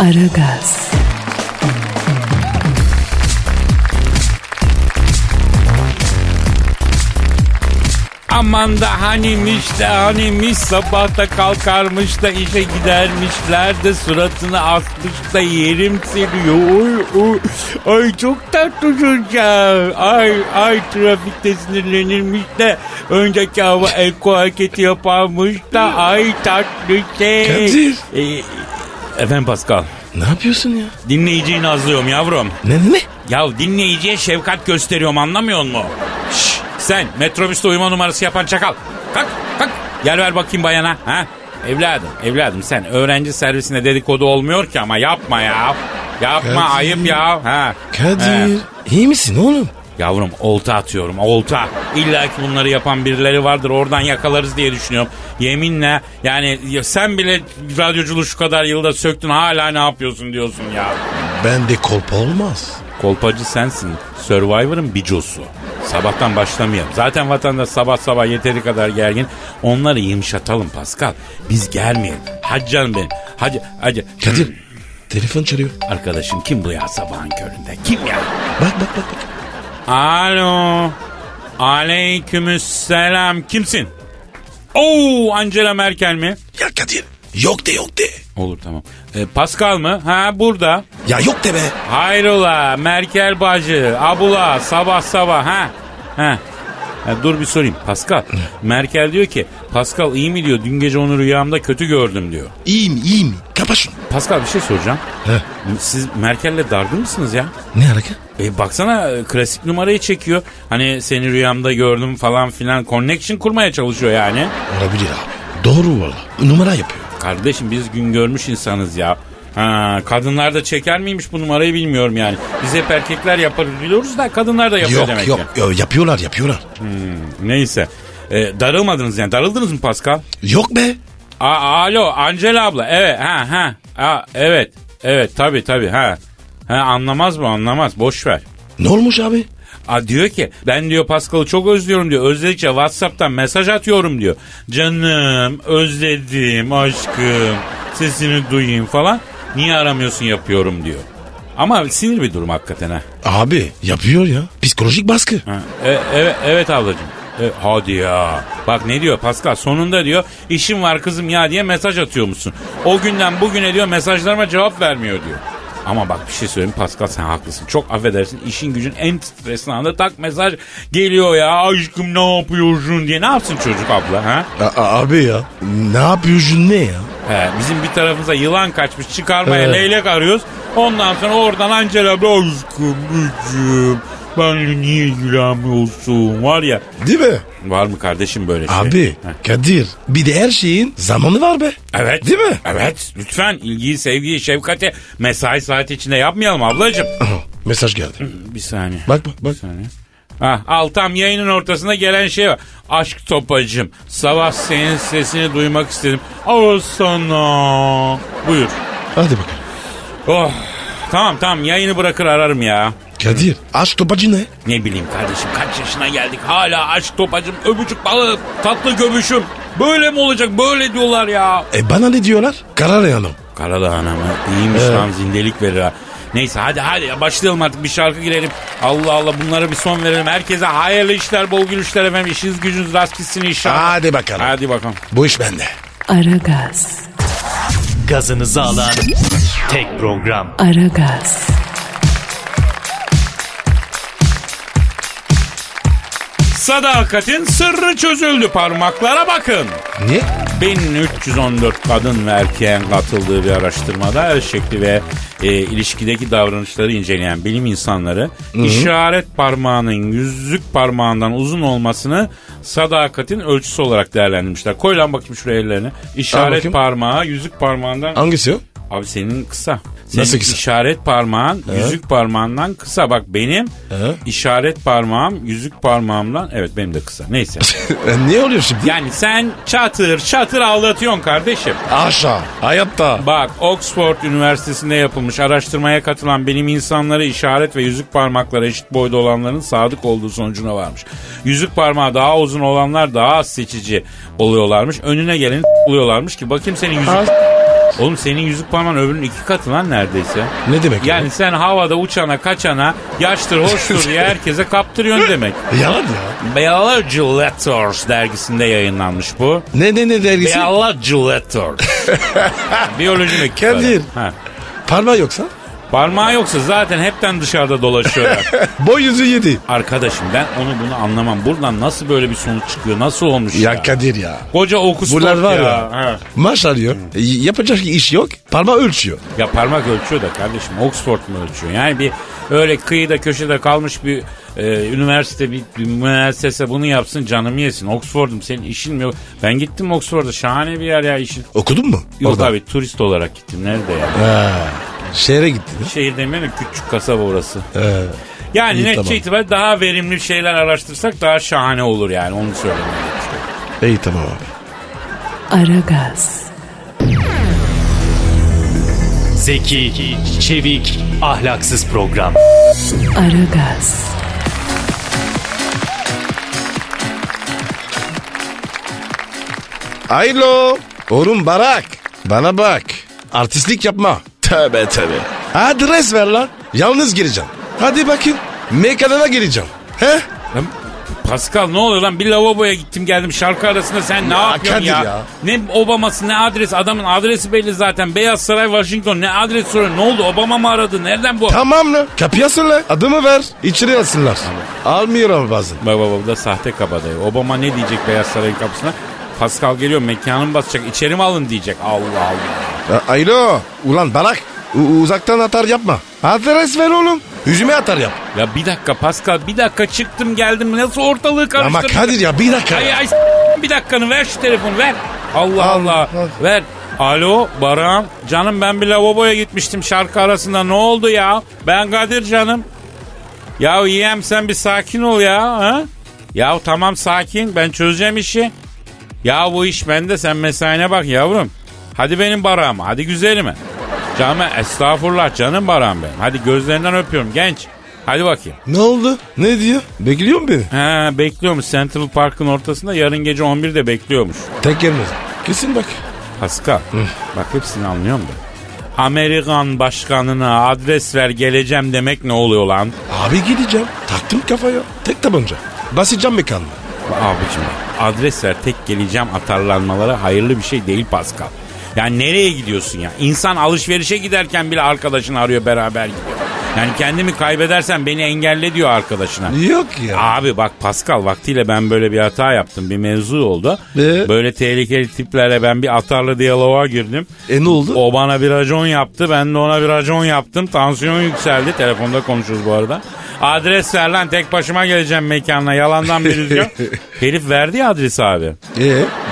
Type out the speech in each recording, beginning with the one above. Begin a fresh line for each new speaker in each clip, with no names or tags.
Aragaz,
Aman da hanimiş de hanimiş sabah da kalkarmış da işe gidermişler de suratını asmış da yerim siliyor. Oy, oy. Ay çok tatlı çocuklar. Ay ay trafikte sinirlenirmiş de önceki hava eko hareketi yaparmış da ay tatlı şey.
Kadir.
Ee, efendim Pascal.
Ne yapıyorsun ya?
Dinleyiciyi nazlıyorum yavrum.
Ne ne?
Ya dinleyiciye şefkat gösteriyorum anlamıyor musun? Şş, sen metrobüste uyuma numarası yapan çakal. Kalk kalk yer ver bakayım bayana. Ha? Evladım evladım sen öğrenci servisinde dedikodu olmuyor ki ama yapma ya. Yapma
Kadir.
ayıp ya. Ha.
Kadir.
He.
İyi misin oğlum?
Yavrum olta atıyorum olta. İlla ki bunları yapan birileri vardır oradan yakalarız diye düşünüyorum. Yeminle yani ya sen bile radyoculuğu şu kadar yılda söktün hala ne yapıyorsun diyorsun ya.
Ben de kolpa olmaz.
Kolpacı sensin. Survivor'ın bicosu. Sabahtan başlamayalım. Zaten vatandaş sabah sabah yeteri kadar gergin. Onları yumuşatalım Pascal. Biz germeyelim. Hacı canım benim. Hacı, hacı.
Kadir. Telefon çalıyor.
Arkadaşım kim bu ya sabahın köründe? Kim ya?
Bak bak bak. bak.
Alo. Aleykümselam. Kimsin? Oo Angela Merkel mi?
Ya Kadir. Yok de yok de.
Olur tamam. E, Pascal mı? Ha burada.
Ya yok de be.
Hayrola Merkel bacı, abula sabah sabah ha? Ha. Ha, dur bir sorayım Pascal. Merkel diyor ki Pascal iyi mi diyor dün gece onu rüyamda kötü gördüm diyor.
İyiyim iyiyim. Kapa şunu.
Pascal bir şey soracağım.
He.
Siz Merkel'le dargın mısınız ya?
Ne hareket?
E baksana e, klasik numarayı çekiyor. Hani seni rüyamda gördüm falan filan connection kurmaya çalışıyor yani.
Olabilir abi. Doğru valla. Numara yapıyor.
Kardeşim biz gün görmüş insanız ya. Ha, kadınlar da çeker miymiş bu numarayı bilmiyorum yani. Biz hep erkekler yaparız biliyoruz da kadınlar da yapıyor demek
yok
ki.
yok. Yo, yapıyorlar yapıyorlar.
Neyse. Ee, darılmadınız yani. Darıldınız mı Pascal?
Yok be.
A- Alo Angela abla. Evet ha ha. Aa, evet. Evet tabii tabii ha. Ha anlamaz mı anlamaz. Boş ver.
Ne olmuş abi?
Aa, diyor ki ben diyor Pascal'ı çok özlüyorum diyor. Özellikle Whatsapp'tan mesaj atıyorum diyor. Canım özledim aşkım sesini duyayım falan. Niye aramıyorsun yapıyorum diyor. Ama sinir bir durum hakikaten ha.
Abi yapıyor ya. Psikolojik baskı.
Ha, e- evet, evet ablacığım. E, hadi ya. Bak ne diyor Pascal sonunda diyor işim var kızım ya diye mesaj atıyor musun? O günden bugüne diyor mesajlarıma cevap vermiyor diyor. Ama bak bir şey söyleyeyim Pascal sen haklısın. Çok affedersin işin gücün en stresli anda tak mesaj geliyor ya aşkım ne yapıyorsun diye. Ne yapsın çocuk abla ha?
A- a- abi ya. Ne yapıyorsun ne ya?
He, bizim bir tarafımıza yılan kaçmış çıkarmaya
Evet.
leylek arıyoruz. Ondan sonra oradan Angela abla, aşkım gücüm benle niye ilgilenmiyorsun var ya.
Değil mi?
Var mı kardeşim böyle şey?
Abi
Heh.
Kadir bir de her şeyin zamanı var be.
Evet.
Değil mi?
Evet. Lütfen ilgiyi, sevgiyi, şefkati mesai saati içinde yapmayalım ablacığım.
Aha, mesaj geldi.
Bir saniye.
Bak bak bak.
Bir saniye. Ah, al tam yayının ortasında gelen şey var. Aşk topacım. Sabah senin sesini duymak istedim. Al sana. Buyur.
Hadi bakalım.
Oh. Tamam tamam yayını bırakır ararım ya.
Kadir aşk topacı ne?
Ne bileyim kardeşim kaç yaşına geldik hala aşk topacım öpücük balığı tatlı göbüşüm. Böyle mi olacak böyle diyorlar ya.
E bana ne diyorlar? Karar yanım.
Karadağ anamı iyiymiş
Evet.
lan zindelik verir ha. Neyse hadi hadi ya başlayalım artık bir şarkı girelim. Allah Allah bunlara bir son verelim. Herkese hayırlı işler, bol gülüşler efendim. İşiniz gücünüz rast gitsin inşallah.
Hadi bakalım.
Hadi bakalım.
Bu iş bende.
Aragaz,
Gazınızı alan tek program.
Aragaz,
Sadakatin sırrı çözüldü parmaklara bakın.
Niye?
1314 kadın ve erkeğin katıldığı bir araştırmada her şekli ve e, ilişkideki davranışları inceleyen bilim insanları işaret parmağının yüzük parmağından uzun olmasını sadakatin ölçüsü olarak değerlendirmişler. Koy lan bakayım şuraya ellerini. İşaret
bakayım.
parmağı yüzük parmağından
Hangisi o?
Abi senin kısa. Senin
Nasıl kısa?
işaret parmağın yüzük parmağından kısa. Bak benim
He?
işaret parmağım yüzük parmağımdan evet benim de kısa. Neyse.
E, niye oluyor şimdi?
yani sen çatır çatır aldatıyorsun kardeşim.
Aşağı. Hayatta.
Bak Oxford Üniversitesi'nde yapılmış araştırmaya katılan bilim insanları işaret ve yüzük parmakları eşit boyda olanların sadık olduğu sonucuna varmış. Yüzük parmağı daha uzun olanlar daha az seçici oluyorlarmış. Önüne geleni oluyorlarmış ki bakayım senin yüzük... Oğlum senin yüzük parmağın öbürünün iki katı lan neredeyse.
Ne demek
Yani
ya?
sen havada uçana kaçana yaştır hoştur diye herkese kaptırıyorsun demek.
E, Yalan ya.
Biology Letters dergisinde yayınlanmış bu.
Ne ne ne dergisi?
Biology Letters. Biyoloji mektupları.
Kadir.
Ha.
Parmağı yoksa?
Parmağı yoksa zaten hepten dışarıda dolaşıyorlar.
Boy yüzü yedi.
Arkadaşım ben onu bunu anlamam. Buradan nasıl böyle bir sonuç çıkıyor? Nasıl olmuş ya?
Ya Kadir ya.
Koca okus
Bunlar var ya.
Ha.
Maaş alıyor. E, Yapacak iş yok. Parmağı ölçüyor.
Ya parmak ölçüyor da kardeşim Oxford mu ölçüyor? Yani bir öyle kıyıda köşede kalmış bir e, üniversite bir, bir müessese bunu yapsın canımı yesin. Oxford'um senin işin mi yok? Ben gittim Oxford'a şahane bir yer ya işin.
Okudun mu?
Yok
Orada.
abi turist olarak gittim nerede ya?
Ha, şehre gittin.
Şehir demeyelim küçük kasaba orası.
Ee,
Yani
İyi,
netice
tamam.
itibariyle daha verimli şeyler araştırsak daha şahane olur yani onu söylemeye çalışıyorum.
iyi tamam abi.
Aragaz,
Zeki, çevik, ahlaksız program.
Aragaz,
Alo. Oğlum Barak. Bana bak. Artistlik yapma. Tövbe tövbe. Adres ver lan. Yalnız gireceğim. Hadi bakayım. Mekanına gireceğim. He?
Lan Pascal ne oluyor lan bir lavaboya gittim geldim şarkı arasında sen ne yapıyorsun
Kadir
ya?
ya.
Ne Obama'sı ne adres adamın adresi belli zaten Beyaz Saray Washington ne adres soruyor ne oldu Obama mı aradı nereden bu?
Tamam lan. Kapıya sırla. Adımı ver. İçeri alsınlar. Almıyorum bazen.
Bak bak bak bu da sahte kabadayı Obama ne diyecek Beyaz Saray'ın kapısına? Pascal geliyor mekanımı basacak içeri mi alın diyecek Allah Allah.
A- Alo. Ulan Barak. u- uzaktan atar yapma. Adres ver oğlum. Yüzüme atar yap.
Ya bir dakika Pascal bir dakika çıktım geldim nasıl ortalığı
Ama
karıştırdın?
Kadir ya bir dakika.
Ay ay s- bir dakikanı ver şu telefonu ver. Allah
Al,
Allah.
al.
Ver. Alo Baran. Canım ben bir lavaboya gitmiştim şarkı arasında. Ne oldu ya? Ben Kadir canım. Ya yeğem sen bir sakin ol ya. Ha? Ya tamam sakin ben çözeceğim işi. Ya bu iş bende sen mesaine bak yavrum. Hadi benim barağıma hadi güzelime. Canım estağfurullah canım barağım benim. Hadi gözlerinden öpüyorum genç. Hadi bakayım.
Ne oldu? Ne diyor? Bekliyor mu beni?
Ha bekliyormuş Central Park'ın ortasında yarın gece 11'de bekliyormuş.
Tek gelmez. Kesin bak.
Pascal bak hepsini anlıyorum da. Amerikan başkanına adres ver geleceğim demek ne oluyor lan?
Abi gideceğim. Taktım kafaya. Tek tabanca. Basacağım mekanına.
Abicim adres ver tek geleceğim atarlanmaları hayırlı bir şey değil Pascal. Yani nereye gidiyorsun ya? İnsan alışverişe giderken bile arkadaşını arıyor beraber gidiyor. Yani kendimi kaybedersen beni engelle diyor arkadaşına.
Yok ya.
Abi bak Pascal vaktiyle ben böyle bir hata yaptım. Bir mevzu oldu.
Ee?
Böyle tehlikeli tiplerle ben bir atarlı diyaloğa girdim.
E ne oldu?
O bana bir racon yaptı. Ben de ona bir racon yaptım. Tansiyon yükseldi. Telefonda konuşuyoruz bu arada. Adres ver lan tek başıma geleceğim mekanına. Yalandan bir rüzgar. Herif verdi ya adresi abi.
E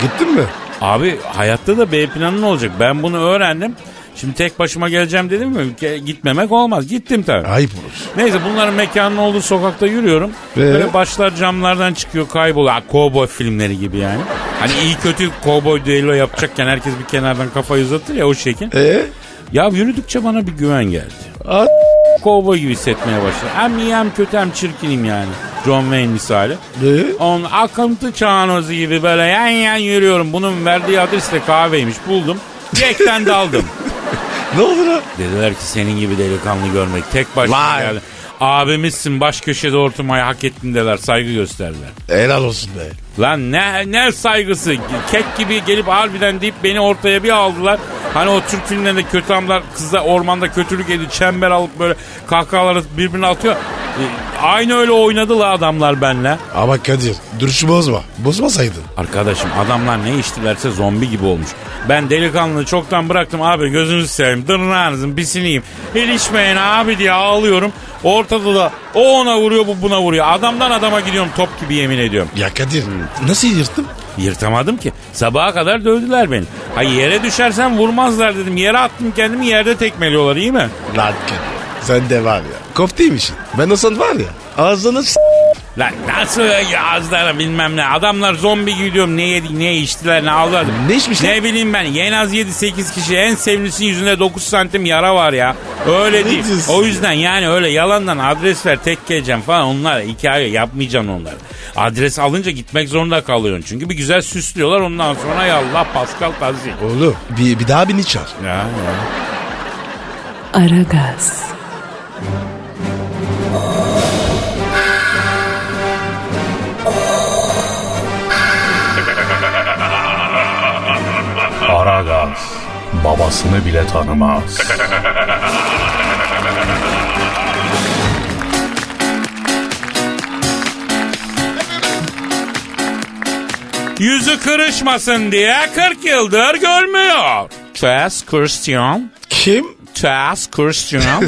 gittin mi?
Abi hayatta da B planı ne olacak? Ben bunu öğrendim. Şimdi tek başıma geleceğim dedim mi? Ke- Gitmemek olmaz. Gittim tabii.
Ayıp olur.
Neyse bunların mekanının olduğu sokakta yürüyorum.
Ee?
Böyle başlar camlardan çıkıyor kayboluyor. Ha, Kovboy filmleri gibi yani. Hani iyi kötü kovboy düello yapacakken herkes bir kenardan kafayı uzatır ya o şekil.
E
Ya yürüdükçe bana bir güven geldi.
A-
Kovboy gibi hissetmeye başladım. Hem iyi hem kötü hem çirkinim yani. John Wayne misali.
Ee?
On akıntı çağnozu gibi böyle yan yan yürüyorum. Bunun verdiği adres de kahveymiş. Buldum. Direkten daldım.
ne olur ha?
Dediler ki senin gibi delikanlı görmek tek başına
Vay.
geldi. Abimizsin baş köşede oturmayı hak ettin dediler saygı gösterdiler.
Helal olsun be.
Lan ne ne saygısı kek gibi gelip harbiden deyip beni ortaya bir aldılar. Hani o Türk filmlerinde kötü amlar kızla ormanda kötülük ediyor çember alıp böyle kahkahalar atıp birbirine atıyor. E, Aynı öyle oynadı la adamlar benle.
Ama Kadir duruşu bozma. Bozmasaydın.
Arkadaşım adamlar ne içtilerse zombi gibi olmuş. Ben delikanlılığı çoktan bıraktım abi gözünüzü seveyim tırnağınızın pisiniyim. İlişmeyin abi diye ağlıyorum. Ortada da o ona vuruyor bu buna vuruyor. Adamdan adama gidiyorum top gibi yemin ediyorum.
Ya Kadir nasıl yırttın?
Yırtamadım ki. Sabaha kadar dövdüler beni. Ha yere düşersen vurmazlar dedim. Yere attım kendimi yerde tekmeliyorlar iyi mi?
Lan Kadir sen de var ya. Kofteymişsin. Ben olsan var ya ağzını s-
Lan nasıl ya ağızlara bilmem ne. Adamlar zombi gibi diyorum ne yedi ne içtiler ne aldılar.
Ne içmişler?
Ne bileyim ben. En az 7-8 kişi en sevimlisi yüzünde 9 santim yara var ya. Öyle değil.
diyorsun
O yüzden yani öyle yalandan adres ver tek geleceğim falan onlar hikaye yapmayacaksın onları. Adres alınca gitmek zorunda kalıyorsun. Çünkü bir güzel süslüyorlar ondan sonra ya Allah Pascal Tazi.
Oğlum bir, bir daha beni çağır.
Ya, ya.
Aragaz,
Aragaz babasını bile tanımaz.
Yüzü kırışmasın diye 40 yıldır görmüyor. Ters Christian.
Kim?
Tess Christian.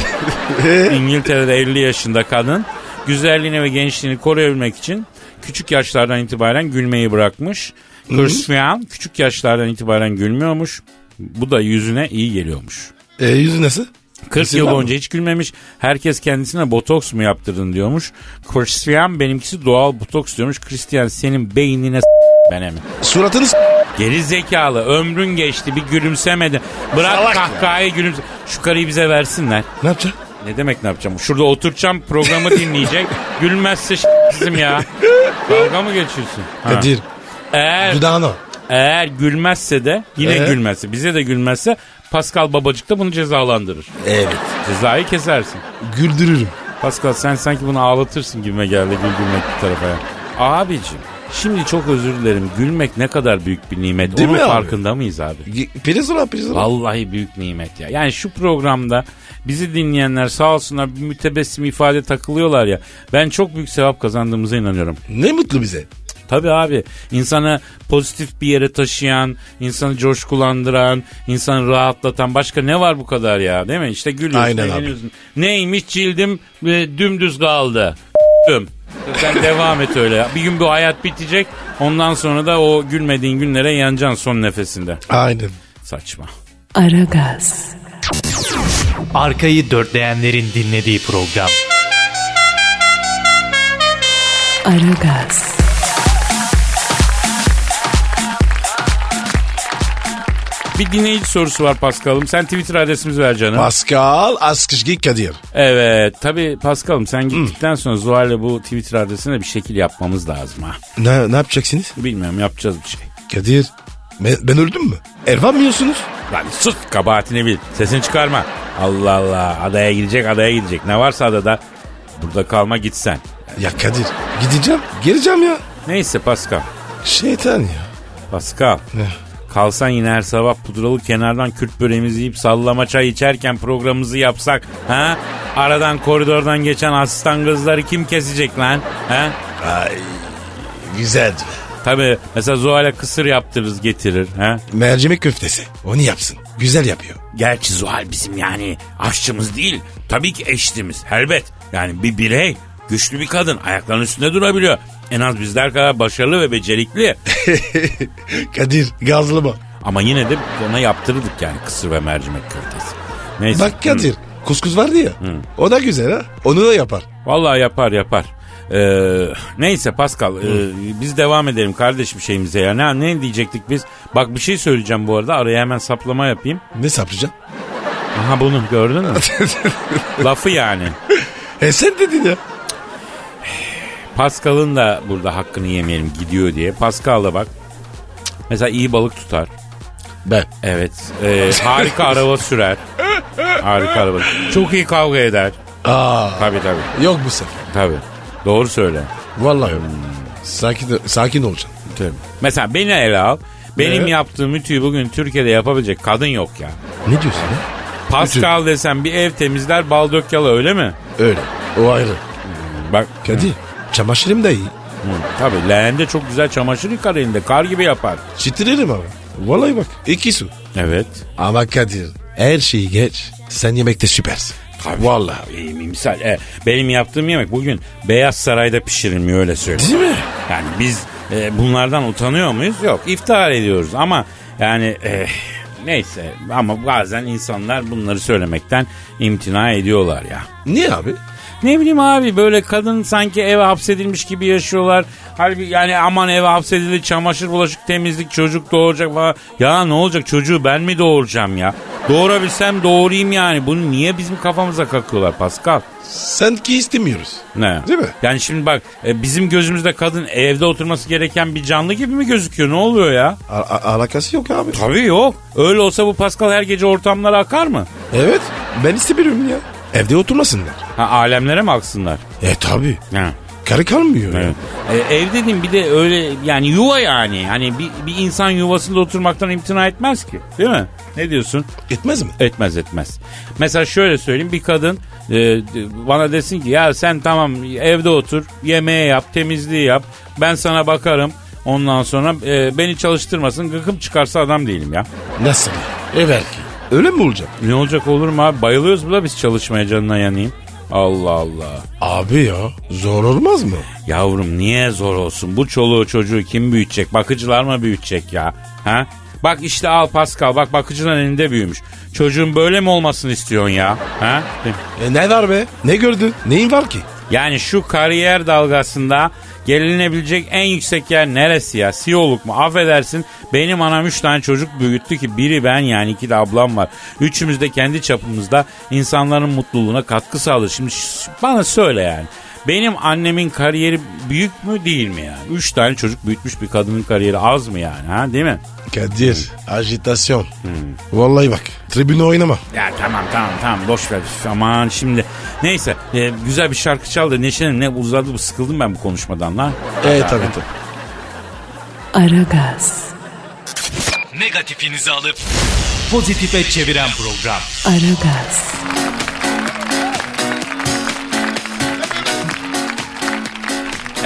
İngiltere'de 50 yaşında kadın. Güzelliğini ve gençliğini koruyabilmek için küçük yaşlardan itibaren gülmeyi bırakmış. Christian küçük yaşlardan itibaren gülmüyormuş. Bu da yüzüne iyi geliyormuş.
E, yüzü nasıl?
40
Kesin
yıl
var mı?
boyunca hiç gülmemiş. Herkes kendisine botoks mu yaptırdın diyormuş. Christian benimkisi doğal botoks diyormuş. Christian senin beynine s- ben emin.
Suratını s-
Geri zekalı ömrün geçti bir gülümsemedi. Bırak
Salak ya.
kahkahayı gülümse. Şu karıyı bize versinler.
Ne yapacak?
Ne demek ne yapacağım? Şurada oturacağım programı dinleyecek. Gülmezse ş- kızım ya. Dalga mı geçiyorsun? Ha.
Kadir
Eğer,
dudağına.
eğer gülmezse de yine
Ee?
gülmezse bize de gülmezse Pascal babacık da bunu cezalandırır.
Evet.
Cezayı kesersin.
Güldürürüm.
Pascal sen sanki bunu ağlatırsın gibime geldi güldürmek bir tarafa ya. Abicim şimdi çok özür dilerim gülmek ne kadar büyük bir nimet.
Değil
Onun
mi abi?
farkında mıyız abi?
Priz ulan priz ulan.
Vallahi büyük nimet ya. Yani şu programda bizi dinleyenler sağ olsunlar bir mütebessim ifade takılıyorlar ya. Ben çok büyük sevap kazandığımıza inanıyorum.
Ne mutlu bize.
Tabii abi insanı pozitif bir yere taşıyan, insanı coşkulandıran, insanı rahatlatan başka ne var bu kadar ya değil mi? İşte gülüyorsun.
Aynen abi.
eğleniyorsun. Neymiş cildim e, dümdüz kaldı. Düm. Sen devam et öyle. Bir gün bu hayat bitecek. Ondan sonra da o gülmediğin günlere yanacaksın son nefesinde.
Aynen.
Saçma.
Aragaz,
Arkayı dörtleyenlerin dinlediği program.
Aragaz,
Bir dinleyici sorusu var Paskal'ım. Sen Twitter adresimizi ver canım.
Pascal Askışgi Kadir.
evet. Tabii Paskal'ım sen gittikten sonra Zuhal'le bu Twitter adresine bir şekil yapmamız lazım ha.
Ne, ne yapacaksınız?
Bilmiyorum yapacağız bir şey.
Kadir ben, ben öldüm mü? Ervan mı yiyorsunuz?
Lan sus kabahatini bil. Sesini çıkarma. Allah Allah. Adaya gidecek adaya gidecek. Ne varsa adada. Burada kalma gitsen.
Ya Kadir gideceğim geleceğim ya.
Neyse Paskal.
Şeytan ya.
Paskal.
Ne?
Kalsan yine her sabah pudralı kenardan Kürt böreğimizi yiyip sallama çay içerken programımızı yapsak. Ha? Aradan koridordan geçen asistan kızları kim kesecek lan? Ha?
Güzel.
Tabii mesela Zuhal'e kısır yaptırırız getirir. He?
Mercimek köftesi. Onu yapsın. Güzel yapıyor.
Gerçi Zuhal bizim yani aşçımız değil. Tabii ki eşitimiz elbet. Yani bir birey güçlü bir kadın ayaklarının üstünde durabiliyor. En az bizler kadar başarılı ve becerikli.
Kadir gazlı mı?
Ama yine de ona yaptırırdık yani kısır ve mercimek köftesi. Neyse.
Bak Kadir kuskus vardı ya. O da güzel ha. Onu da yapar.
Hı. Hmm. Vallahi yapar yapar. Ee, neyse Pascal ee, biz devam edelim kardeşim şeyimize ya. Ne, ne diyecektik biz? Bak bir şey söyleyeceğim bu arada araya hemen saplama yapayım.
Ne sapacağım?
Aha bunu gördün mü? Lafı yani.
E sen dedin ya.
Pascal'ın da burada hakkını yemeyelim gidiyor diye. Pascal da bak mesela iyi balık tutar.
Ben.
Evet. Ee, harika araba sürer. Harika araba. Çok iyi kavga eder.
Aa,
Tabii tabii.
yok bu sefer.
Tabii. Doğru söyle.
Vallahi yok. Sakin, sakin olacaksın.
Tabii. Mesela beni ele al. Benim
Ne?
yaptığım ütüyü bugün Türkiye'de yapabilecek kadın yok ya.
Ne diyorsun ya?
Pascal desem bir ev temizler bal dök yala öyle mi?
Öyle. O ayrı.
Bak
Kadir çamaşırım da iyi.
tabii leğende çok güzel çamaşır yıkar elinde. Kar gibi yapar.
Çitiririm abi. Vallahi bak iki su.
Evet.
Ama Kadir her şeyi geç. Sen yemekte süpersin.
Tabii.
Vallahi.
İyi misal. E, benim yaptığım yemek bugün Beyaz Saray'da pişirilmiyor öyle söyleyeyim.
Değil mi?
Yani biz e, bunlardan utanıyor muyuz? Yok. İftihar ediyoruz ama yani e, neyse ama bazen insanlar bunları söylemekten imtina ediyorlar ya.
Niye abi?
Ne bileyim abi böyle kadın sanki eve hapsedilmiş gibi yaşıyorlar. Halbuki yani aman eve hapsedildi çamaşır bulaşık temizlik çocuk doğuracak falan. Ya ne olacak çocuğu ben mi doğuracağım ya? Doğurabilsem doğurayım yani. Bunu niye bizim kafamıza kakıyorlar Pascal?
Sen ki istemiyoruz.
Ne?
Değil mi?
Yani şimdi bak e, bizim gözümüzde kadın evde oturması gereken bir canlı gibi mi gözüküyor? Ne oluyor ya?
A- a- alakası yok abi.
Tabii yok. Öyle olsa bu Pascal her gece ortamlara akar mı?
Evet ben istemiyorum ya. Evde oturmasınlar.
Ha, alemlere mi aksınlar?
E tabi.
Ha.
Karı kalmıyor. ya.
Evet. E, ev dediğim bir de öyle yani yuva yani. Hani bir, bir insan yuvasında oturmaktan imtina etmez ki. Değil mi? Ne diyorsun?
Etmez mi?
Etmez etmez. Mesela şöyle söyleyeyim bir kadın e, d- bana desin ki ya sen tamam evde otur yemeğe yap temizliği yap ben sana bakarım ondan sonra e, beni çalıştırmasın gıkım çıkarsa adam değilim ya.
Nasıl? E Evet. Öyle mi olacak?
Ne olacak olur mu abi bayılıyoruz bu da biz çalışmaya canına yanayım. Allah Allah.
Abi ya zor olmaz mı?
Yavrum niye zor olsun? Bu çoluğu çocuğu kim büyütecek? Bakıcılar mı büyütecek ya? Ha? Bak işte al Pascal bak bakıcının elinde büyümüş. Çocuğun böyle mi olmasını istiyorsun ya? Ha?
E ne var be? Ne gördün? Neyin var ki?
Yani şu kariyer dalgasında gelinebilecek en yüksek yer neresi ya? CEO'luk mu? Affedersin benim anam 3 tane çocuk büyüttü ki biri ben yani iki de ablam var. Üçümüz de kendi çapımızda insanların mutluluğuna katkı sağladı. Şimdi ş- bana söyle yani. Benim annemin kariyeri büyük mü değil mi yani? Üç tane çocuk büyütmüş bir kadının kariyeri az mı yani ha değil mi?
Kadir ajitasyon. Vallahi bak tribüne oynama.
Ya tamam tamam tamam boş ver Üf, aman şimdi. Neyse e, güzel bir şarkı çal da neşelenin ne uzadı bu sıkıldım ben bu konuşmadan lan.
E tabi tabi.
Aragaz,
Negatifinizi alıp pozitife çeviren program.
Aragaz,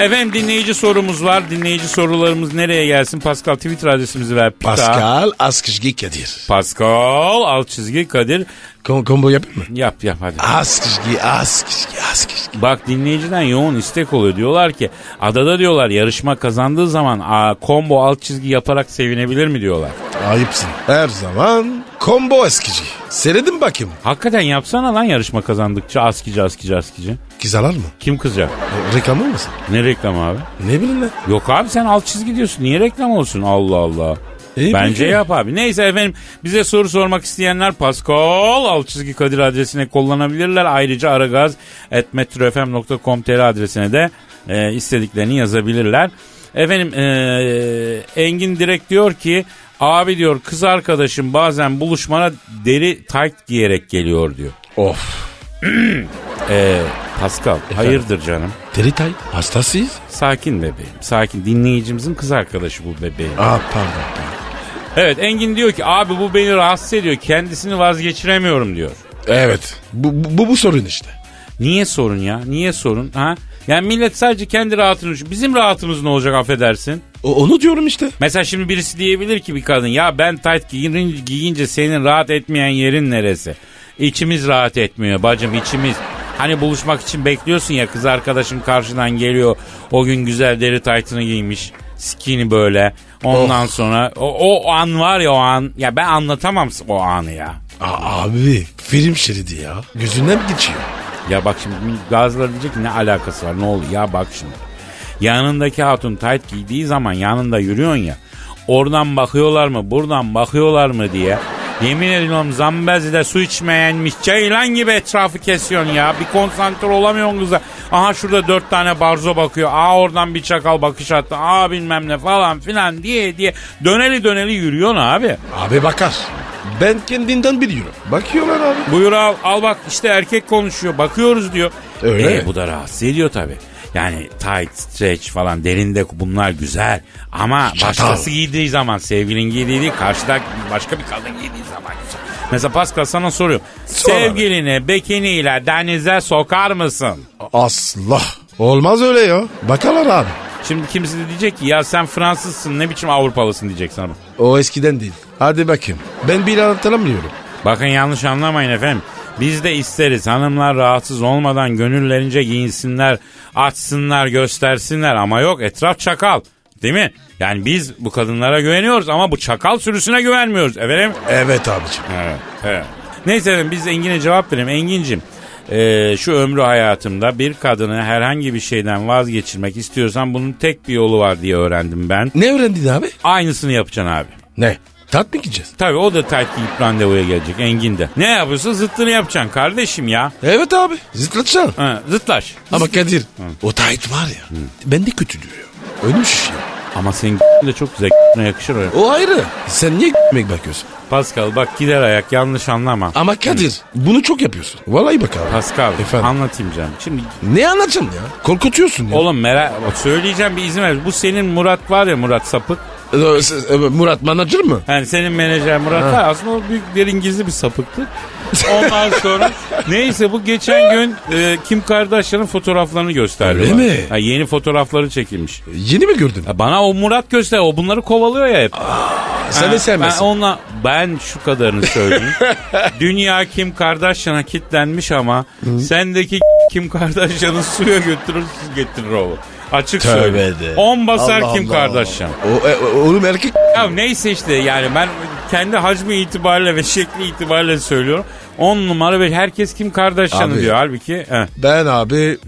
Efendim dinleyici sorumuz var. Dinleyici sorularımız nereye gelsin? Pascal Twitter adresimizi ver. Pita.
Pascal Askışgi Kadir.
Pascal alt çizgi Kadir.
Kom kombo yapayım mı?
Yap yap hadi.
Askışgi, Askışgi, Askışgi.
Bak dinleyiciden yoğun istek oluyor. Diyorlar ki adada diyorlar yarışma kazandığı zaman a, combo alt çizgi yaparak sevinebilir mi diyorlar.
Ayıpsın. Her zaman kombo eskici. Seyredin bakayım.
Hakikaten yapsana lan yarışma kazandıkça askici askici askici.
Kizalar mı?
Kim kızacak?
E, Reklam olmasın?
Ne reklam abi?
Ne bileyim lan.
Yok abi sen alt çizgi diyorsun. Niye reklam olsun? Allah Allah.
İyi,
Bence
peki.
yap abi. Neyse efendim bize soru sormak isteyenler Pascal alt çizgi Kadir adresine kullanabilirler. Ayrıca aragaz.metrofm.com.tr adresine de e, istediklerini yazabilirler. Efendim e, Engin direkt diyor ki abi diyor kız arkadaşım bazen buluşmana deri tight giyerek geliyor diyor.
Of.
E, Pascal hayırdır canım?
Teritay hastasıyız.
Sakin bebeğim sakin dinleyicimizin kız arkadaşı bu bebeğim.
Aa pardon.
Evet Engin diyor ki abi bu beni rahatsız ediyor. Kendisini vazgeçiremiyorum diyor.
Evet. Bu, bu, bu, bu sorun işte.
Niye sorun ya? Niye sorun? Ha? Yani millet sadece kendi rahatını düşün. Bizim rahatımız ne olacak affedersin?
O- onu diyorum işte.
Mesela şimdi birisi diyebilir ki bir kadın ya ben tight giyince, giyince senin rahat etmeyen yerin neresi? İçimiz rahat etmiyor bacım içimiz. Hani buluşmak için bekliyorsun ya kız arkadaşın karşıdan geliyor. O gün güzel deri taytını giymiş. Skinny böyle. Ondan sonra o, o an var ya o an. Ya ben anlatamam o anı ya.
Aa, abi film şeridi ya. Gözünden geçiyor.
Ya bak şimdi bazıları diyecek ki ne alakası var ne oluyor ya bak şimdi. Yanındaki hatun tight giydiği zaman yanında yürüyorsun ya. Oradan bakıyorlar mı buradan bakıyorlar mı diye. Yemin ediyorum Zambezi'de su içmeyenmiş ceylan gibi etrafı kesiyorsun ya. Bir konsantre olamıyorsun kıza. Aha şurada dört tane barzo bakıyor. Aa oradan bir çakal bakış attı. Aa bilmem ne falan filan diye diye. Döneli döneli yürüyorsun abi.
Abi bakar. Ben kendinden biliyorum. Bakıyorlar abi.
Buyur al, al bak işte erkek konuşuyor bakıyoruz diyor.
Öyle
Ee,
mi?
Bu da rahatsız ediyor tabii. Yani tight, stretch falan derinde bunlar güzel. Ama
Çatal.
başkası giydiği zaman sevgilin giydiği değil karşıdaki başka bir kadın giydiği zaman güzel. Mesela Pascal sana soruyorum.
Sor abi.
Sevgilini bikiniyle denize sokar mısın?
Asla. Olmaz öyle ya. Bakarlar abi.
Şimdi kimse de diyecek ki ya sen Fransızsın ne biçim Avrupalısın diyecek sana.
O eskiden değil. Hadi bakayım. Ben bir hatırlamıyorum.
Bakın yanlış anlamayın efendim. Biz de isteriz hanımlar rahatsız olmadan gönüllerince giyinsinler, açsınlar, göstersinler ama yok etraf çakal. Değil mi? Yani biz bu kadınlara güveniyoruz ama bu çakal sürüsüne güvenmiyoruz efendim.
Evet abicim.
Evet, evet. Neyse efendim biz de Engin'e cevap verelim. Engin'cim eee, şu ömrü hayatımda bir kadını herhangi bir şeyden vazgeçirmek istiyorsan bunun tek bir yolu var diye öğrendim ben.
Ne öğrendin abi?
Aynısını yapacaksın abi.
Ne? Tat mı gideceğiz?
Tabii o da tight giyip randevuya gelecek Engin de. Ne yapıyorsun? Zıttını yapacaksın kardeşim ya.
Evet abi. Zıtlatacaksın.
Ha, zıtlaş.
Ama Kadir o tayt var ya. Bende kötü duruyor. Ölmüş ya.
Ama senin de çok güzel yakışır o.
O ayrı. Sen niye yemek bakıyorsun?
Pascal bak gider ayak yanlış anlama.
Ama Kadir bunu çok yapıyorsun. Vallahi bak abi.
Pascal
Efendim?
anlatayım canım. Şimdi
Ne anlatacağım ya? Korkutuyorsun ya.
oğlum merak söyleyeceğim bir izin ver. Bu senin Murat var ya Murat sapık.
Ee, siz- e, Murat manager mı?
Yani senin menajer Murat var. Aslında o büyük derin gizli bir sapıktı. Ondan sonra neyse bu geçen gün e, Kim Kardashian'ın fotoğraflarını gösterdi.
Öyle
bana.
mi?
Ha, yeni fotoğrafları çekilmiş.
Yeni mi gördün?
Ya bana o Murat göster. O bunları kovalıyor ya hep.
Sen de
Ha,
sevmezsin.
Ben, ona, ben şu kadarını söyleyeyim. Dünya Kim Kardashian'a kitlenmiş ama sendeki Kim Kardashian'ı suya götürür su getirir o. Açık
Tövbe
söyleyeyim.
de.
On basar
Allah
Kim
Allah.
Kardashian.
O, e, o- oğlum erkek.
Ya neyse işte yani ben kendi hacmi itibariyle ve şekli itibariyle söylüyorum. 10 numara ve herkes Kim Kardashian'ı
Abi.
diyor. Halbuki he.
Ben abi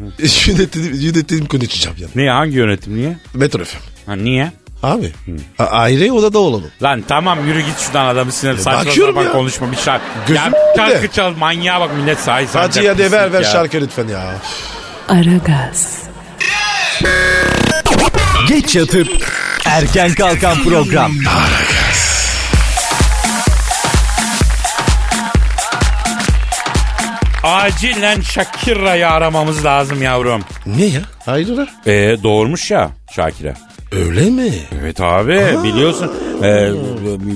yönetim, yönetim konuşacağım yani.
Niye hangi yönetim niye?
Metro FM.
Ha niye?
Abi a- ayrı odada olalım.
Lan tamam yürü git şuradan adamı sinir saçma
E, bakıyorum
sapan
ya.
konuşma bir şarkı.
Gözüm
ya
önünde.
bir şarkı çal manyağa bak millet sahi sanacak.
Hacı ya de
pislik
ver ver
ya.
şarkı lütfen ya.
Aragaz,
Geç yatıp erken kalkan program.
Acilen Shakira'yı aramamız lazım yavrum.
Ne ya? Hayrola?
Ee doğurmuş ya Shakira.
Öyle mi?
Evet abi biliyorsun e,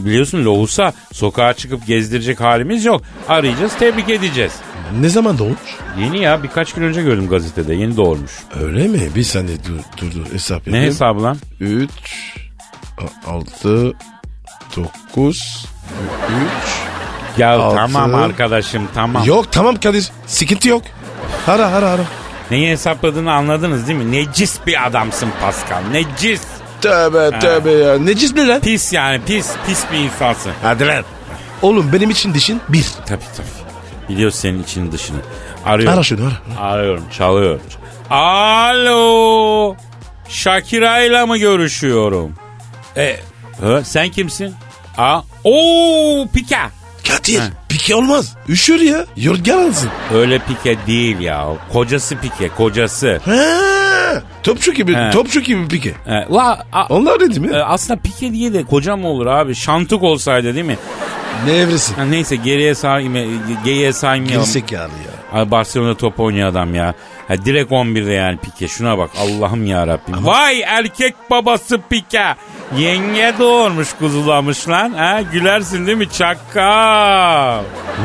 biliyorsun lohusa sokağa çıkıp gezdirecek halimiz yok. Arayacağız tebrik edeceğiz.
Ne zaman doğmuş?
Yeni ya birkaç gün önce gördüm gazetede yeni doğurmuş.
Öyle mi? Bir saniye dur dur, dur hesap
Ne
yapayım.
hesabı lan?
3 6 9
Ya
Altı.
tamam arkadaşım tamam.
Yok tamam Kadir. Sıkıntı yok. Ara ara ara.
Neyi hesapladığını anladınız değil mi? Necis bir adamsın Pascal necis.
Tövbe tövbe ya. Necis mi lan?
Pis yani pis pis bir insansın.
Hadi lan. Oğlum benim için dişin bir.
Tabii tabii. Biliyor senin içini dışını. Arıyorum.
Ara şunu ara.
Arıyorum çalıyorum. Alo. Şakira'yla mı görüşüyorum? E, hı, sen kimsin? Aa, oo pika.
Kadir. Pike olmaz. Üşür ya. Yorgan alsın.
Öyle pike değil ya. Kocası pike, kocası.
Ha, Topçu gibi,
He.
topçu gibi pike.
E, la, a-
Onlar ne değil
e,
mi?
aslında pike diye de kocam olur abi. Şantuk olsaydı değil mi?
Ne evresi?
Ha, neyse geriye sayma, geriye saymayalım.
Gerizekalı ya.
Ay Barcelona top oynuyor adam ya. Ha, direkt 11'de yani Pike. Şuna bak Allah'ım ya Rabbim. Vay erkek babası Pike. Yenge doğurmuş kuzulamış lan. Ha, gülersin değil mi çakal.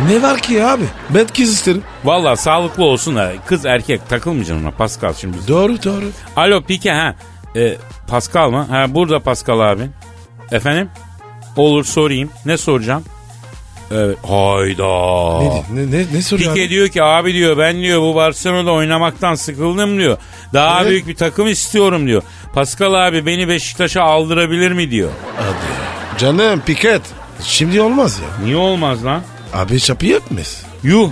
Ne var ki ya abi? Ben kız isterim.
Valla sağlıklı olsun da kız erkek takılmayacaksın ona Pascal şimdi.
Doğru doğru.
Alo Pike ha. E, Pascal mı? Ha burada Pascal abi. Efendim? Olur sorayım. Ne soracağım? Evet. Hayda.
Ne, ne, ne, ne soruyor
Pike
abi?
diyor ki abi diyor ben diyor bu Barcelona'da oynamaktan sıkıldım diyor. Daha
Evet.
büyük bir takım istiyorum diyor. Pascal abi beni Beşiktaş'a aldırabilir mi diyor.
Hadi ya. Canım piket. Şimdi olmaz ya.
Niye olmaz lan?
Abi çapı yapmaz.
Yuh.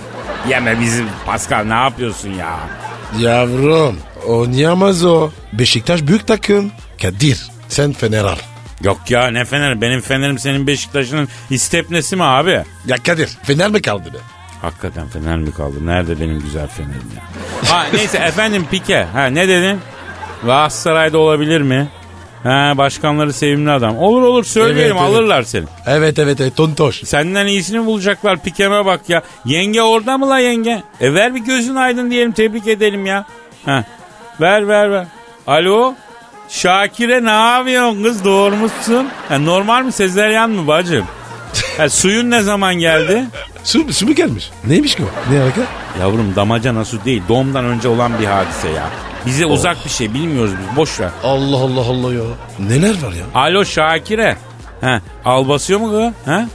Yeme bizim Pascal ne yapıyorsun ya?
Yavrum oynayamaz o. Beşiktaş büyük takım. Kadir sen Fener al.
Yok ya ne Fener benim Fener'im senin Beşiktaş'ın istepnesi mi abi?
Ya Kadir Fener mi kaldı be?
Hakikaten Fener mi kaldı? Nerede benim güzel Fener'im ya? ha neyse efendim Pike. Ha ne dedin? Galatasaray'da olabilir mi? Ha başkanları sevimli adam. Olur olur söyleyelim
Evet, evet.
alırlar seni.
Evet evet evet tontoş.
Senden iyisini bulacaklar pikeme bak ya. Yenge orada mı la yenge? E ver bir gözün aydın diyelim tebrik edelim ya. Heh. Ver ver ver. Alo? Şakire ne yapıyorsun kız doğurmuşsun? Ha, normal mi sezeryan mı bacım? Ha, suyun ne zaman geldi?
Su, su mu gelmiş? Neymiş ki o? Ne alaka?
Yavrum damacana su değil doğumdan önce olan bir hadise ya. Bize uzak bir şey bilmiyoruz biz boş ver.
Allah Allah Allah ya. Neler var ya?
Alo Şakire. Ha, al basıyor mu kız? Ha?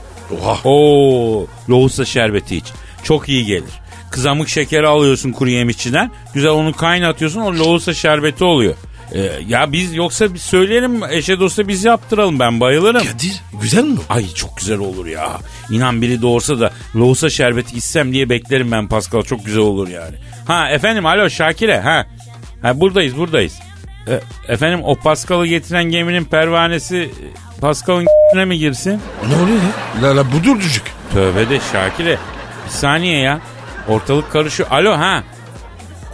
Oha.
Oo, lohusa şerbeti iç. Çok iyi gelir. Kızamık şekeri alıyorsun kuru yemişçiden. Güzel onu kaynatıyorsun o lohusa şerbeti oluyor. Ee, ya biz yoksa biz söyleyelim eşe dosta biz yaptıralım ben bayılırım.
Kadir güzel mi?
Ay çok güzel olur ya. İnan biri doğursa da lohusa şerbeti içsem diye beklerim ben Pascal. Çok güzel olur yani. Ha efendim alo Şakire. Ha, ha buradayız buradayız. E, efendim o Pascal'ı getiren geminin pervanesi e, Pascal'ın ne mi girsin?
Ne oluyor ya? La la budur çocuk.
Tövbe de Şakir'e. Bir saniye ya. Ortalık karışıyor. Alo ha.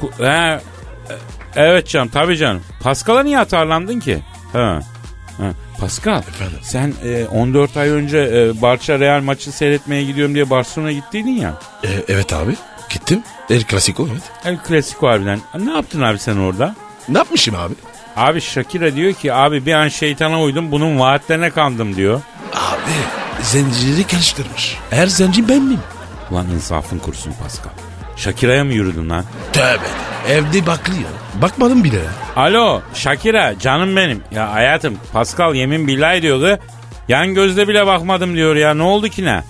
Ku- ha. E- Evet canım tabii canım. Pascal'a niye atarlandın ki? Ha. ha. Pascal
Efendim?
sen e, 14 ay önce e, Barça Real maçı seyretmeye gidiyorum diye Barcelona'ya gittiydin ya.
E, evet abi. Gittim. El Clasico evet.
El Clasico harbiden. E, Ne yaptın abi sen orada?
Ne yapmışım abi?
Abi Shakira diyor ki abi bir an şeytana uydum bunun vaatlerine kandım diyor.
Abi zencileri karıştırmış. Her zenci ben miyim?
Ulan insafın kursun Pascal. Shakira'ya mı yürüdün lan?
Tövbe. Evde bakılıyor. Bakmadım bile ya.
Alo Şakira canım benim. Ya hayatım Pascal yemin billahi diyordu. Yan gözle bile bakmadım diyor ya ne oldu ki ne?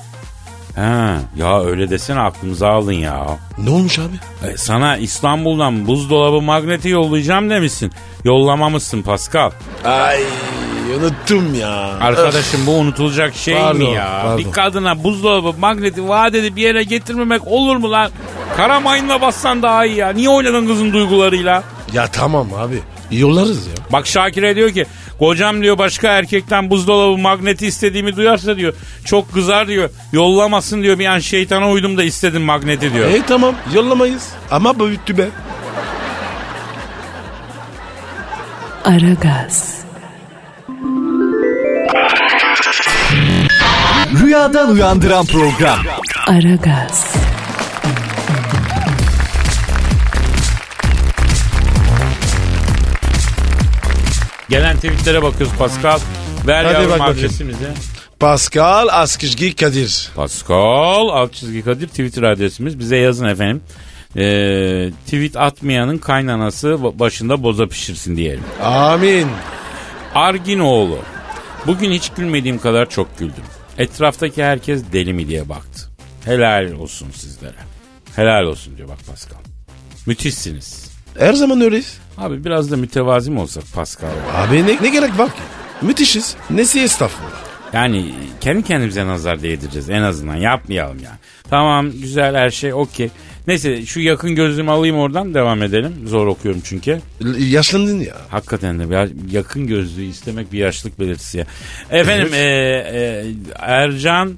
Ha, ya öyle desene aklımıza aldın ya.
Ne olmuş abi?
E, sana İstanbul'dan buzdolabı magneti yollayacağım demişsin. Yollamamışsın Pascal.
Ay unuttum ya.
Arkadaşım bu unutulacak şey
Pardon,
mi ya?
pardon.
Bir kadına buzdolabı magneti vaat edip bir yere getirmemek olur mu lan? Kara mayınla bassan daha iyi ya. Niye oynadın kızın duygularıyla?
Ya tamam abi. Yollarız ya.
Bak Şakir'e diyor ki kocam diyor başka erkekten buzdolabı magneti istediğimi duyarsa diyor çok kızar diyor yollamasın diyor bir an şeytana uydum da istedim magneti diyor.
E tamam yollamayız. Ama büyüttü be.
Aragaz,
Rüyadan uyandıran program.
Aragaz,
Gelen tweetlere bakıyoruz Pascal. Ver
Hadi bak
yavrum
bakayım.
adresimizi.
Pascal Askışgi Kadir.
Pascal alt çizgi Kadir Twitter adresimiz bize yazın efendim. Ee, tweet atmayanın kaynanası ba- başında boza pişirsin diyelim.
Amin.
Arginoğlu. Bugün hiç gülmediğim kadar çok güldüm. Etraftaki herkes deli mi diye baktı. Helal olsun sizlere. Helal olsun diyor bak Pascal. Müthişsiniz.
Her zaman öyleyiz.
Abi biraz da mütevazi mi olsak Pascal?
Abi ne, ne gerek var ki? Müthişiz. Nesi estağfurullah.
Yani kendi kendimize nazar değdireceğiz en azından yapmayalım yani. Tamam güzel her şey okey. Neyse şu yakın gözlüğümü alayım oradan devam edelim. Zor okuyorum çünkü.
L- Yaşlandın ya.
Hakikaten de bir- yakın gözlüğü istemek bir yaşlık belirtisi ya. Efendim e, e, Ercan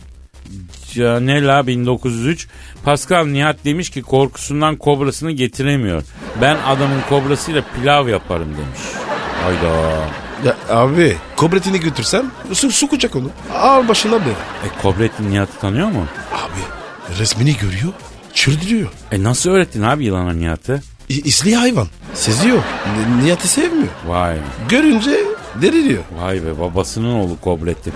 Canela 1903 Pascal Nihat demiş ki korkusundan kobrasını getiremiyor. Ben adamın kobrasıyla pilav yaparım demiş. Hayda.
ya abi kobretini götürsem su, su kucak onu. Al başına beni.
E Kobrettin Nihat'ı tanıyor mu?
Abi resmini görüyor. Çürdürüyor.
E nasıl öğrettin abi yılana Nihat'ı?
İ- İsli hayvan. Seziyor. N- niyeti sevmiyor.
Vay
Görünce deliriyor.
Vay be babasının oğlu Kobrettin.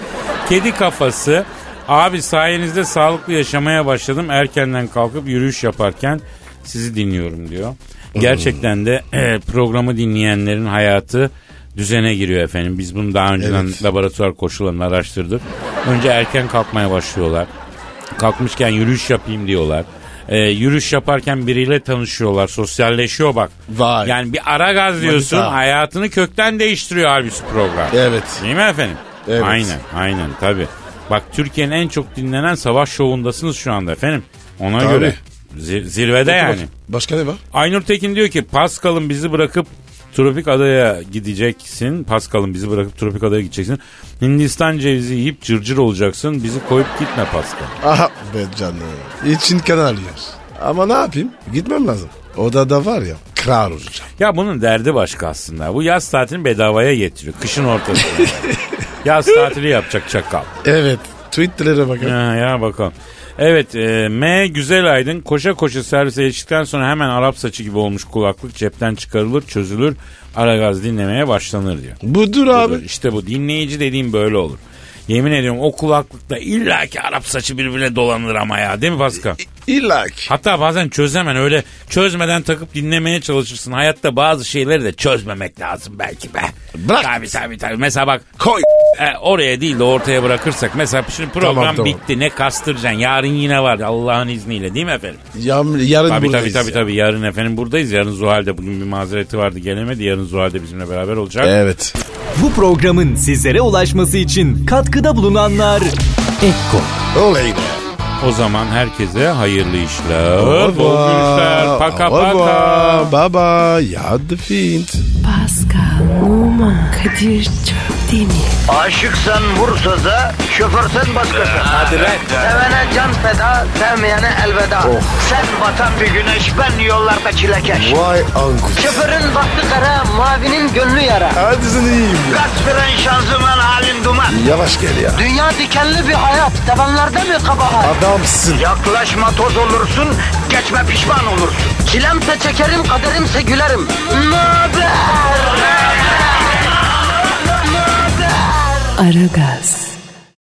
Kedi kafası. Abi sayenizde sağlıklı yaşamaya başladım. Erkenden kalkıp yürüyüş yaparken sizi dinliyorum diyor. Gerçekten de eh, programı dinleyenlerin hayatı düzene giriyor efendim. Biz bunu daha önceden
Evet.
laboratuvar koşullarını araştırdık. Önce erken kalkmaya başlıyorlar. Kalkmışken yürüyüş yapayım diyorlar. Eh, yürüyüş yaparken biriyle tanışıyorlar. Sosyalleşiyor bak.
Vay.
Yani bir ara gaz diyorsun.
daha.
Hayatını kökten değiştiriyor halbuki program.
Evet.
Değil mi efendim?
Evet.
Aynen aynen tabi. Bak Türkiye'nin en çok dinlenen savaş şovundasınız şu anda efendim. Ona
Tabii.
göre zi- zirvede yani.
Başka ne var?
Aynur Tekin diyor ki Pascal'ın bizi bırakıp Tropik Adaya gideceksin. Pascal'ın bizi bırakıp Tropik Adaya gideceksin. Hindistan cevizi yiyip cırcır olacaksın. Bizi koyup gitme Pascal.
Aha be canım. İçin kan alıyor. Ama ne yapayım? Gitmem lazım. Odada var ya kral olacağım.
Ya bunun derdi başka aslında. Bu yaz tatilini bedavaya getiriyor. Kışın ortasında. yaz tatili yapacak çakal.
Evet. Tweetlere bakın.
Ya, ya bakalım. Evet e, M Güzel Aydın koşa koşa servise yetiştikten sonra hemen Arap saçı gibi olmuş kulaklık cepten çıkarılır çözülür Aragaz dinlemeye başlanır diyor.
Budur abi.
İşte bu dinleyici dediğim böyle olur. Yemin ediyorum o kulaklıkla illaki Arap saçı birbirine dolanır ama ya değil mi Pascal?
E, İlla ki.
Hatta bazen çözemen öyle çözmeden takıp dinlemeye çalışırsın. Hayatta bazı şeyleri de çözmemek lazım belki be.
Bırak.
Tabii tabii tabii. Mesela bak
Koy.
e, oraya değil de ortaya bırakırsak. Mesela şimdi program
Tamam, tamam.
bitti ne kastıracaksın. Yarın yine var Allah'ın izniyle değil mi efendim?
Ya, yarın
Tabii tabii
buradayız
tabii,
ya.
tabii yarın efendim buradayız. Yarın Zuhal'de bugün bir mazereti vardı gelemedi. Yarın Zuhal'de bizimle beraber olacak.
Evet.
Bu programın sizlere ulaşması için katkıda bulunanlar
Olay be.
O zaman herkese hayırlı işler. Bol
Baba.
gülüşler. Paka paka.
Baba. Baba. Ya the fiend.
Pascal, Numan, Kadir çok değil mi?
Aşıksan vursa da şoförsen başkasın. Hadi
lan. Oh.
Sevene can feda, sevmeyene elveda. Sen batan bir güneş, ben yollarda çilekeş.
Vay anku.
Şoförün baktı kara, mavinin gönlü yara.
Hadi sen iyiyim ya.
Kasperen şanzıman halin duman.
Yavaş gel ya.
Dünya dikenli bir hayat, sevenlerde mi kabahar?
Adamsın.
Yaklaşma toz olursun, geçme pişman olursun. Çilemse çekerim, kaderimse gülerim. Möber!
Aragaz.